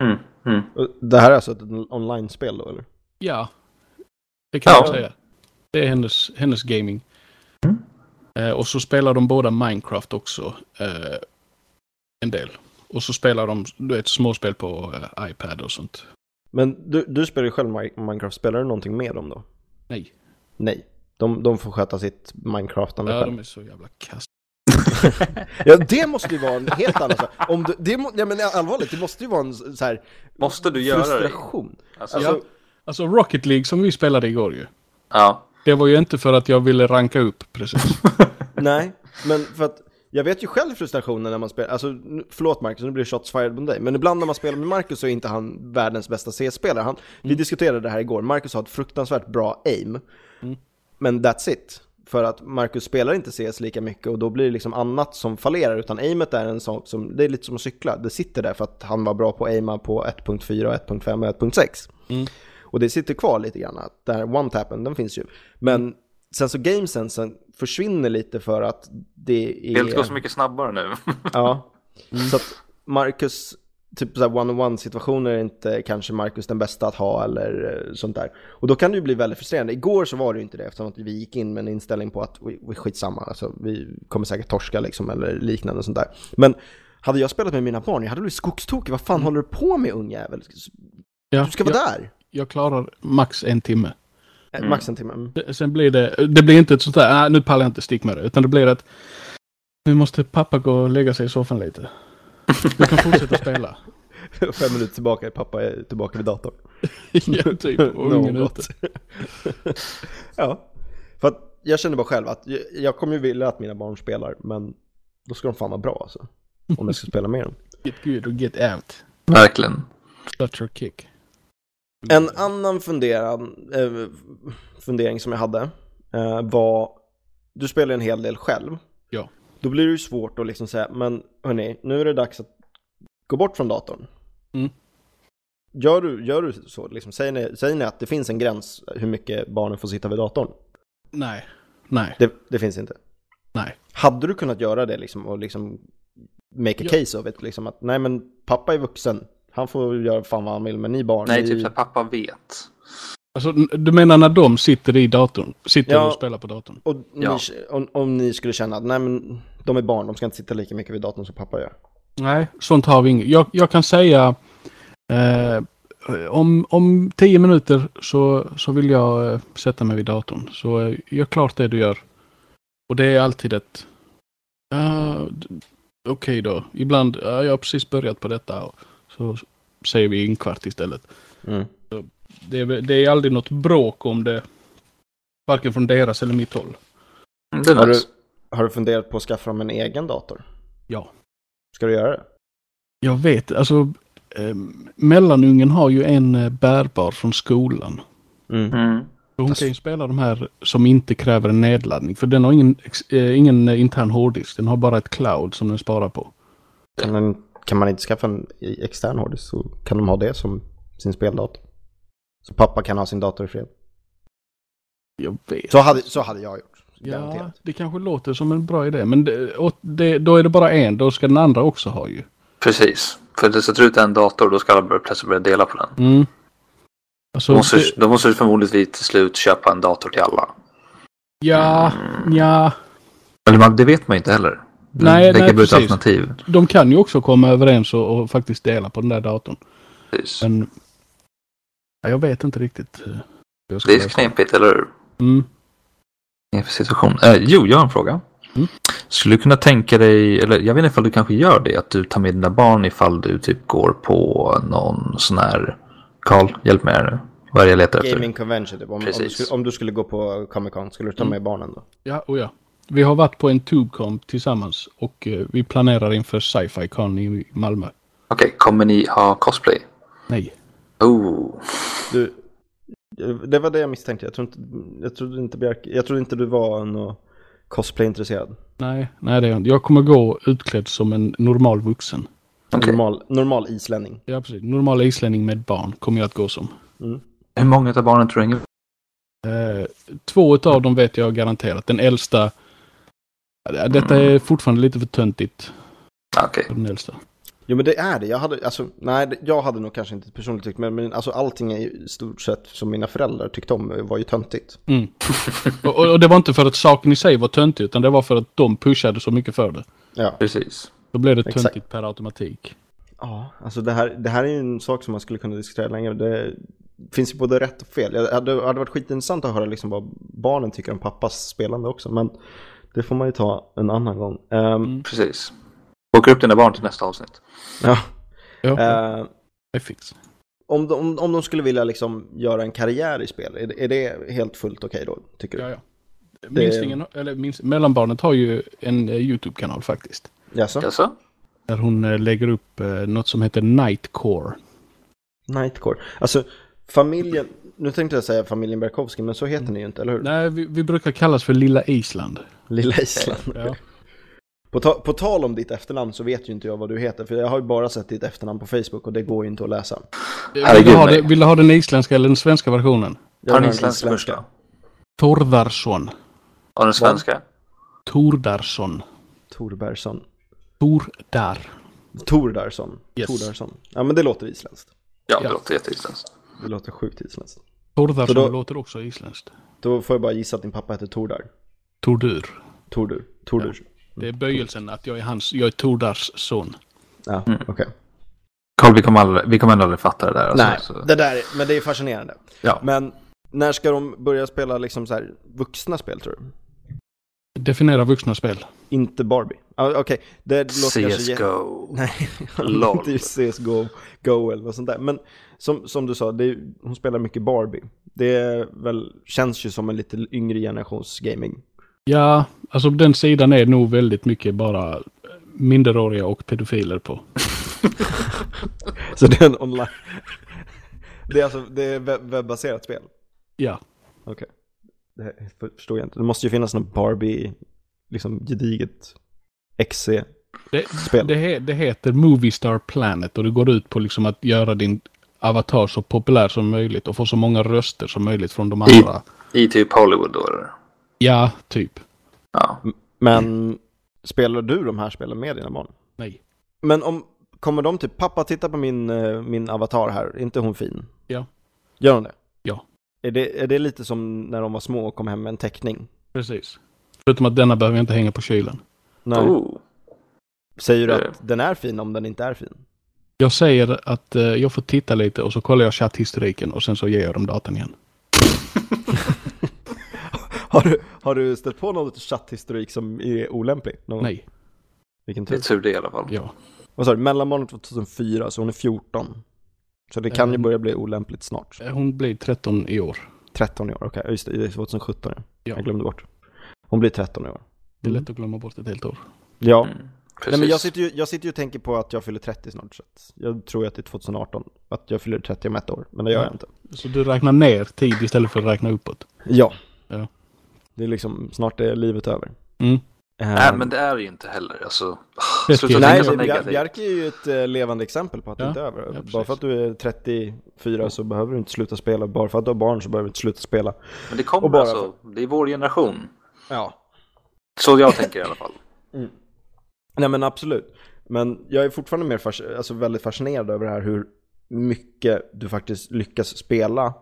S2: Mm. Mm.
S1: Och Det här är alltså ett online-spel då eller?
S3: Ja, det kan
S2: Ja.
S3: jag säga. Det är hennes, hennes gaming. Eh, och så spelar de båda Minecraft också. Eh, en del. Och så spelar de du vet, småspel på eh, iPad och sånt.
S1: Men du, du spelar ju själv Mi- Minecraft, spelar du någonting med dem då?
S3: Nej,
S1: Nej, de, de får sköta sitt Minecraftande
S3: ja,
S1: själv.
S3: de är så jävla kass.
S1: Ja, det måste ju vara en helt annan sak. Om du, det, må- ja, men allvarligt, det måste ju vara en så här
S2: Måste du göra det?
S1: frustration.
S2: Alltså,
S1: Alltså,
S3: Alltså Rocket League som vi spelade igår ju.
S2: ja.
S3: Det var ju inte för att jag ville ranka upp precis.
S1: Nej, men för att jag vet ju själv frustrationen när man spelar, alltså nu- förlåt Marcus, nu blir det shots fired på dig, men ibland när man spelar med Marcus så är inte han världens bästa CS-spelare.
S2: Mm.
S1: Han, Vi diskuterade det här igår, Marcus har ett fruktansvärt bra aim, men that's it. För att Marcus spelar inte CS lika mycket och då blir det liksom annat som fallerar. Utan aimet är en sak som, det är lite som att cykla. Det sitter där för att han var bra på att aima på 1.4, och 1.5 och 1.6.
S3: Mm.
S1: Och det sitter kvar lite grann, att där one-tappen, den finns ju. Men sen så gamesensen försvinner lite för att det är...
S2: Spelet går så mycket snabbare nu.
S1: Ja, så att Marcus, typ såhär one-on-one situationer är inte kanske Marcus den bästa att ha eller eh, sånt där. Och då kan det ju bli väldigt frustrerande. Igår så var det ju inte det eftersom att vi gick in med en inställning på att vi, vi skitsamma, alltså, vi kommer säkert torska liksom eller liknande och sånt där. Men hade jag spelat med mina barn, jag hade blivit skogstokig. Vad fan håller du på med ungjävel?
S3: Ja,
S1: Du ska vara
S3: jag,
S1: där!
S3: jag klarar max en timme.
S1: Eh, Max en timme. Mm.
S3: Sen blir det, det blir inte ett sånt där, "Ah, nu pallar jag inte stick med det, utan det blir att nu måste pappa gå och lägga sig i soffan lite. Du kan fortsätta spela.
S1: Fem minuter tillbaka, pappa är tillbaka vid datorn.
S3: ja, typ. Och ungen ute.
S1: Något. ja, för att jag känner bara själv att jag- jag kommer ju vilja att mina barn spelar, men då ska de fan vara bra alltså. Om jag ska spela med dem.
S3: Get good och get out.
S2: Verkligen.
S3: Shut your kick.
S1: En annan funderan, eh, fundering som jag hade eh, var, du spelar ju en hel del själv.
S3: Ja.
S1: Då blir det ju svårt att liksom säga, men hörni, nu är det dags att gå bort från datorn.
S3: Mm.
S1: Gör du, gör du så? Liksom, säger, ni, säger ni att det finns en gräns hur mycket barnen får sitta vid datorn?
S3: Nej, nej.
S1: Det, det finns inte.
S3: Nej.
S1: Hade du kunnat göra det liksom och liksom make a
S3: Ja.
S1: case of it? Liksom att nej men pappa är vuxen, han får göra fan vad han vill men ni barn,
S2: Nej,
S1: ni...
S2: typ så här, pappa vet.
S3: Alltså, n- du menar när de sitter i datorn? Sitter
S1: Ja.
S3: och spelar på datorn?
S1: Och
S2: Ja.
S1: ni, om, om ni skulle känna att nej men de är barn, de ska inte sitta lika mycket vid datorn som pappa gör.
S3: Nej, sånt har vi inget. Jag, jag kan säga eh, om, om tio minuter så, så vill jag eh, sätta mig vid datorn. Så eh, gör klart det du gör. Och det är alltid ett... ja, d- Okej då. Ibland, ja, jag har precis börjat på detta. Och Så säger vi en kvart istället.
S2: Mm.
S3: Det är, väl- det är aldrig något bråk om det. Varken från deras eller mitt håll.
S2: Mm, Det är
S1: Har, du,
S2: nice.
S1: har du funderat på att skaffa dem en egen dator?
S3: Ja.
S1: Ska du göra det?
S3: Jag vet, alltså... Eh, mellanungen har ju en eh, bärbar från skolan.
S2: Mm.
S3: Och Hon
S1: Fast-
S3: kan ju spela de här som inte kräver en nedladdning. För den har ingen, ex- eh, ingen eh, intern hårddisk. Den har bara ett cloud som den sparar på.
S1: Kan, man, kan man inte skaffa en i- extern hårddisk så kan de ha det som sin speldator. Så pappa kan ha sin dator i fred.
S3: Jag vet.
S1: Så hade, så hade jag gjort.
S3: ja,
S1: Garanterat.
S3: det kanske låter som en bra idé. Men det, och det, då är det bara en. Då ska den andra också ha ju.
S2: Precis. För det sätter ut en dator då ska alla börja plötsligt börja dela på den.
S3: Mm.
S2: Då
S3: Alltså,
S2: måste,
S3: det,
S2: då måste du förmodligen till slut köpa en dator till alla.
S3: ja, ja.
S2: Eller man, det vet man ju inte heller.
S3: Nej,
S2: det
S3: nej,
S2: kan bli ett
S3: precis.
S2: alternativ.
S3: De kan ju också komma överens och, och faktiskt dela på den där datorn.
S2: Precis.
S3: Men ja, jag vet inte riktigt. eh, hur jag ska
S2: Det är
S3: lösa
S2: knepigt, eller hur?
S3: Mm.
S2: Knepig situation. Eh, jo, jag har en fråga.
S3: Mm.
S2: Skulle du kunna tänka dig, eller jag vet inte ifall du kanske gör det, att du tar med dina barn ifall du typ går på någon sån här... Karl, hjälp mig här nu. Vad är det jag letar efter?
S1: Gaming convention typ. Om, om, du
S2: Precis. Mm.
S1: skulle, om du skulle gå på Comic Con, skulle du ta med barnen då?
S3: Ja, och ja. Vi har varit på en Tubecom tillsammans och eh, vi planerar inför Sci-Fi Con i Malmö.
S2: Okej, kommer ni ha cosplay?
S3: Nej.
S2: Oh,
S1: Du, det var det jag misstänkte. Jag trodde inte, jag trodde inte, Björk, jag trodde inte du var någon cosplay-intresserad.
S3: Nej, nej det är jag inte. Jag kommer gå utklädd som en normal vuxen.
S2: okej.
S1: Normal, normal islänning.
S3: Ja, precis. Normal islänning med barn kommer jag att gå som.
S2: Hur många av barnen tror du hänger
S3: Eh, två utav dem vet jag garanterat. Den äldsta... Ja, Detta är fortfarande lite för töntigt.
S2: Ah, Okej.
S3: för Den äldsta.
S1: Jo men det är det. Jag hade, alltså, nej, det- jag hade nog kanske inte personligt tyckt, men, men alltså, allting är ju i stort sett som mina föräldrar tyckte om var ju töntigt.
S3: Mm. och, och- och det var inte för att saken i sig var töntig, utan det var för att de pushade så mycket för det.
S1: Ja.
S2: Precis.
S3: Då blev det
S1: Exakt.
S3: töntigt per automatik.
S1: ja alltså det här, det här är ju en sak som man skulle kunna diskutera längre. Det finns ju både rätt och fel. Det hade, hade varit skitintressant att höra liksom vad barnen tycker om pappas spelande också, men det får man ju ta en annan gång. Ehm,
S2: Precis. Boka upp dina barn till nästa avsnitt.
S1: ja,
S3: Ja,
S1: eh,
S3: det fix.
S1: Om de, om, om de skulle vilja liksom göra en karriär i spel, är det, är det helt fullt okej då, tycker du?
S3: Ja, ja.
S1: Det-
S3: Minstingen, eller minst, mellanbarnet har ju en eh, YouTube-kanal faktiskt.
S1: Jaså?
S2: Jaså?
S3: Där hon eh, lägger upp eh, något som heter Nightcore.
S1: Nightcore. Alltså, familjen, nu tänkte jag säga familjen Berkowski, men så heter ni ju inte, eller hur?
S3: Mm. Nej, vi, vi brukar kallas för Lilla Island.
S1: Lilla Island.
S3: Ja.
S1: På, ta, på tal om ditt efternamn så vet ju inte jag vad du heter, för jag har ju bara sett ditt efternamn på Facebook och det går ju inte att läsa.
S3: Vill,
S2: Herregud,
S3: du ha,
S2: nej.
S3: det- vill du ha den isländska eller den svenska versionen?
S1: Jag
S2: Har den
S1: har en
S2: isländska först
S1: isländska.
S2: då?
S3: Thordarsson.
S2: Har den svenska?
S3: Tordarsson.
S1: Thorbergsson.
S3: Tordar.
S1: Tordarsson.
S3: Yes.
S1: Tordarsson. Ja, men det låter isländskt.
S2: Ja,
S3: Ja.
S2: det låter jätteisländskt.
S1: Det låter sjukt isländskt.
S3: Tordarsson
S1: Så då-
S3: låter också isländskt.
S1: Då får jag bara gissa att din pappa heter Tordar.
S3: Tordur.
S1: Tordur. Tordur.
S3: Det är böjelsen att jag är hans, jag är Tordars son.
S1: Ja, okej.
S2: Carl, vi kommer, aldrig, vi kommer ändå aldrig fatta det där. Alltså,
S1: Nej,
S2: Så,
S1: det där är, men det är fascinerande.
S2: Ja.
S1: Men när ska de börja spela liksom så här vuxna spel tror du?
S3: Definiera vuxna spel.
S1: Inte Barbie. Ah, okej, det låter kanske... jä-
S2: CSGO.
S1: Nej,
S2: Lol.
S1: inte just CSGO Go eller något sånt där. Men som, som du sa, det är, hon spelar mycket Barbie. Det är väl, känns ju som en lite yngre generations gaming.
S3: Ja, alltså den sidan är nog väldigt mycket bara minderåriga och pedofiler på.
S1: Så det är en online... Det är alltså det är webb- webbaserat spel.
S3: Ja,
S1: Okej. Det här för- förstår jag inte. Det måste ju finnas någon Barbie, liksom gediget XC-spel.
S3: det, det, he, det heter Movie Star Planet och det går ut på liksom att göra din avatar så populär som möjligt och få så många röster som möjligt från de
S2: I,
S3: andra.
S2: I typ Hollywood då eller?
S3: Ja, typ.
S2: Ja.
S1: Men spelar du de här spelen med dina barn?
S3: Nej.
S1: Men om, kommer de typ, pappa titta på min, eh, min avatar här, är inte hon fin?
S3: Ja.
S1: Gör hon det?
S3: Ja.
S1: Är det, är det lite som när de var små och kom hem med en teckning?
S3: Precis. Förutom att denna behöver jag inte hänga på kylen.
S1: Nej.
S2: Oh.
S1: Säger du
S2: Eh.
S1: att den är fin om den inte är fin?
S3: Jag säger att eh, jag får titta lite och så kollar jag chatthistoriken och sen så ger jag dem datan igen.
S1: Har du, har du stött på något chatthistorik som är olämplig? Någon?
S3: Nej,
S1: Vilken tur.
S2: Det är tur det i alla fall.
S3: ja.
S1: Vad sa du, mellanbarnet var 2004, så hon är 14. Så det kan ju
S3: Mm.
S1: börja bli olämpligt snart.
S3: Hon blir 13 i år.
S1: 13 i år, okej. Just det, det är 2017 ja.
S3: Ja.
S1: Jag glömde bort. Hon blir 13 i år.
S3: Det är
S1: Mm.
S3: lätt att glömma bort ett helt år.
S1: Ja.
S2: Mm.
S1: Nej,
S2: Precis.
S1: men jag, sitter ju, jag sitter ju och tänker på att jag fyller 30 snart. Så att jag tror ju att det är 2018, att jag fyller 30 om ett år. Men det gör jag
S3: Mm.
S1: inte.
S3: Så du räknar ner tid istället för att räkna uppåt.
S1: Ja.
S3: Ja.
S1: Det är liksom, snart är livet över.
S3: Mm.
S1: Ehm,
S2: Nej, men det är det ju inte heller. Alltså,
S3: Det
S2: sluta
S3: är-
S2: tänka
S1: Nej,
S2: så
S1: det- Bjar-
S2: negativt.
S1: Bjarke är ju ett eh, levande exempel på att det
S3: Ja.
S1: inte är över.
S3: precis.
S1: bara för att du är 34 så behöver du inte sluta spela. Bara för att du har barn så behöver du inte sluta spela.
S2: Men det
S1: och
S2: kommer
S1: bara-
S2: alltså. Det är vår generation.
S1: Ja,
S2: Så jag tänker i alla fall.
S1: Nej men absolut. Men jag är fortfarande mer fas- alltså väldigt fascinerad över det här hur mycket du faktiskt lyckas spela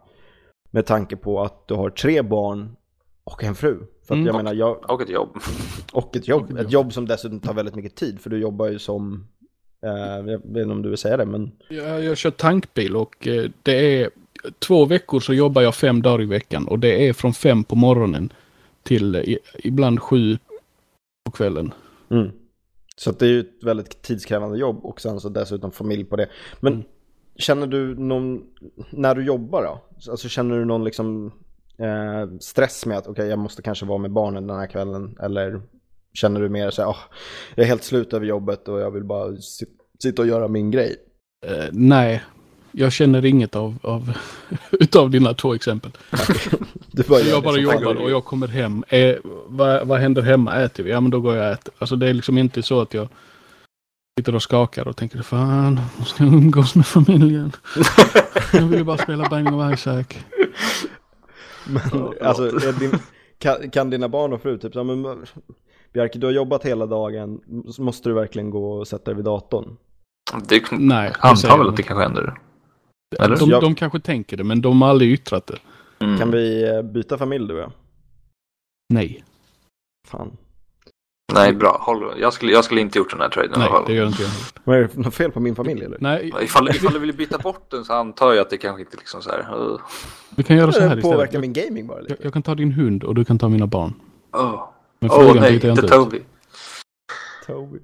S1: med tanke på att du har tre barn och en fru. För att
S3: Mm.
S1: jag menar, jag,
S2: Och ett jobb.
S1: och ett jobb. Ett jobb som dessutom tar väldigt mycket tid för du jobbar ju som, eh, jag vet inte om du vill säga det men,
S3: Jag, jag kör tankbil och eh, det är två veckor så jobbar jag fem dagar i veckan och det är från fem på morgonen till eh, i, ibland sju på kvällen.
S1: så att det är ju ett väldigt tidskrävande jobb och sen så dessutom familj på det. Men
S3: Mm.
S1: känner du någon, när du jobbar då, alltså känner du någon liksom eh, stress med att okej jag måste kanske vara med barnen den här kvällen eller känner du mer så här, "Ah, jag är helt slut över jobbet och jag vill bara sit, sitta och göra min grej?
S3: Eh, nej, jag känner inget av, av utav dina två exempel.
S1: Du bara gör
S3: Jag
S1: det liksom
S3: bara
S1: som
S3: jobbar
S1: fan.
S3: och jag kommer hem. Eh, vad, vad händer hemma? Äter vi? Ja, men då går jag och äter. Alltså det är liksom inte så att jag sitter och skakar och tänker fan, jag ska umgås med familjen. Jag vill ju bara spela Binding of Isaac.
S1: Men, alltså, är din, kan, kan dina barn och fru typ så här, men Bjarke du har jobbat hela dagen, måste du verkligen gå och sätta dig vid datorn?
S2: Det
S3: Nej. det
S2: antar
S3: säger
S2: väl
S1: Mm.
S3: de
S2: att det kanske händer. Eller?
S3: De,
S1: Jag-
S3: de kanske tänker det, men de har aldrig yttrat det.
S2: Mm.
S1: Kan vi eh, byta familj du och jag?
S3: Nej,
S1: Fan.
S2: Nej, bra. Håll... Jag, skulle, jag skulle inte gjort den här traden i
S3: nej,
S2: alla fall.
S3: det gör inte jag.
S1: Vad är det för något fel på min familj eller?
S3: Nej,
S2: Ifall, ifall du vill byta bort den så antar jag att det kanske inte liksom så här... Uh,
S3: vi kan göra så här
S1: Det
S3: istället.
S1: Eh, påverkar
S3: Jag,
S1: min gaming bara lite.
S3: jag kan ta din hund och du kan ta mina barn.
S2: oh.
S3: Men
S2: oh,
S3: frågan
S2: nej,
S3: byter jag
S2: inte
S3: inte ut.
S2: Toby.
S1: Toby.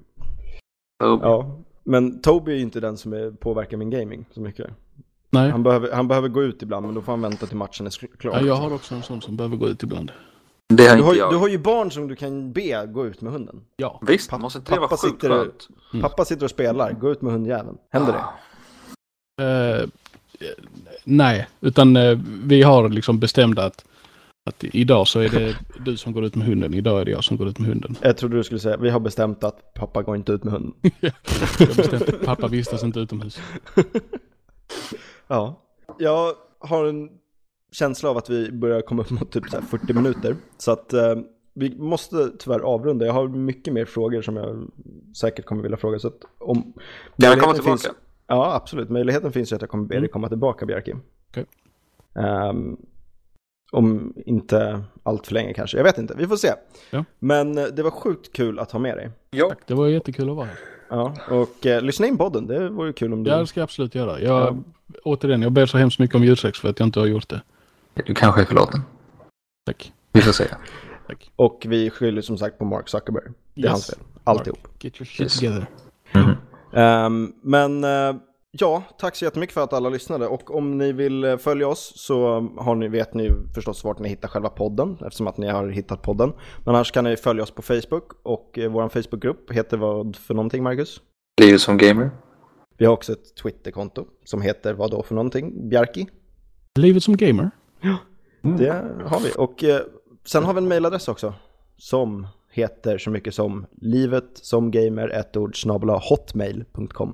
S2: Toby.
S1: Ja, men Toby är ju inte den som är, påverkar min gaming så mycket.
S3: Nej,
S1: Han behöver, han behöver gå ut ibland men då får han vänta till matchen är sk- klar.
S3: ja, jag har också en sån som behöver gå ut ibland.
S2: Det har
S1: du, har,
S2: inte
S1: ju-
S2: jag.
S1: du har ju barn som du kan be gå ut med hunden.
S3: Ja,
S2: Visst,
S1: Pappa-
S2: måste inte det
S1: pappa
S2: vara sjukt
S1: sitter och-
S2: skönt?
S3: Mm.
S2: Ah.
S1: Pappa sitter och spelar, gå ut med hundjäveln. Händer det?
S3: eh, nej, utan eh, vi har liksom bestämt att, att idag så är det du som går ut med hunden, idag är det jag som går ut med hunden.
S1: Jag trodde du skulle säga, vi har bestämt att pappa går inte ut med hunden.
S3: Jag har bestämt att pappa vistas inte utomhus.
S1: Ja. Jag har en känsla av att vi börjar komma upp mot typ så här 40 minuter. Så att eh, vi måste tyvärr avrunda. Jag har mycket mer frågor som jag säkert kommer vilja fråga. Så att om
S2: jag komma
S1: möjligheten
S2: tillbaka?
S1: Finns, ja, absolut. Möjligheten finns ju att jag kommer be dig
S3: Mm.
S1: komma tillbaka, Bjarki.
S3: Okej.
S1: Ehm, om inte allt för länge kanske. Jag vet inte. Vi får se.
S3: Ja.
S1: Men eh, det var sjukt kul att ha med dig.
S2: Ja.
S3: Det var jättekul att vara här.
S1: Ja, och eh, lyssna in podden. Det vore kul om du...
S3: Det ska jag absolut göra. Jag, Återigen, jag ber så hemskt mycket om ursäkt för att jag inte har gjort det.
S2: Du kanske är förlåten.
S3: Tack.
S2: Vi får se.
S3: Tack.
S1: Och vi skyller som sagt på Mark Zuckerberg. Det är hans fel. Alltihop.
S3: Get your shit
S2: Yes.
S3: together.
S2: Mhm.
S1: Ehm, men eh, ja, tack så jättemycket för att alla lyssnade. Och om ni vill eh, följa oss så har ni, vet ni ju förstås vart ni hittar själva podden eftersom att ni har hittat podden. Men annars kan ni följa oss på Facebook och eh, vår Facebookgrupp heter vad för någonting Marcus?
S2: Livet som gamer.
S1: Vi har också ett Twitterkonto som heter vad då för någonting? Bjarki?
S3: Livet som gamer.
S2: Mm.
S1: Det har vi. Och eh, sen har vi en mailadress också som heter så mycket som livet som gamer ett ord snabel-a, hotmail.com.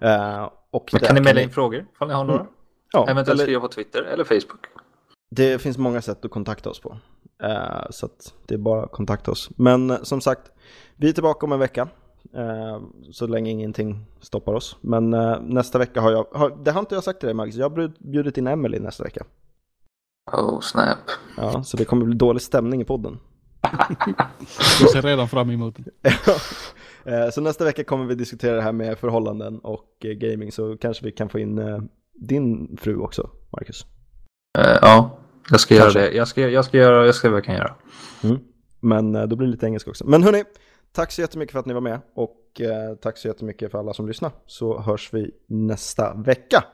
S1: Eh, och där
S2: Mm. Men kan ni mejla in frågor ifall ni har några?
S1: Ja,
S2: Eventuellt
S1: eller-
S2: skriva på Twitter eller Facebook.
S1: Det finns många sätt att kontakta oss på. Eh, så att det är bara att kontakta oss. Men eh, som sagt, vi är tillbaka om en vecka. eh, så länge ingenting stoppar oss. Men eh, nästa vecka har jag, har, det har inte jag sagt till dig Max, jag har bjud- bjudit in Emily nästa vecka.
S2: Oh snap.
S1: Ja, så det kommer bli dålig stämning i podden.
S3: Jag ser redan fram emot det.
S1: Eh, så nästa vecka kommer vi diskutera det här med förhållanden och eh, gaming. Så kanske vi kan få in eh, din fru också, Marcus.
S2: Eh, ja, jag ska
S1: Kanske.
S2: göra det. Jag ska, jag ska göra, jag ska se vad jag kan göra.
S1: Men eh, då blir det lite engelska också. Men hörni, tack så jättemycket för att ni var med och eh, tack så jättemycket för alla som lyssnar. Så hörs vi nästa vecka.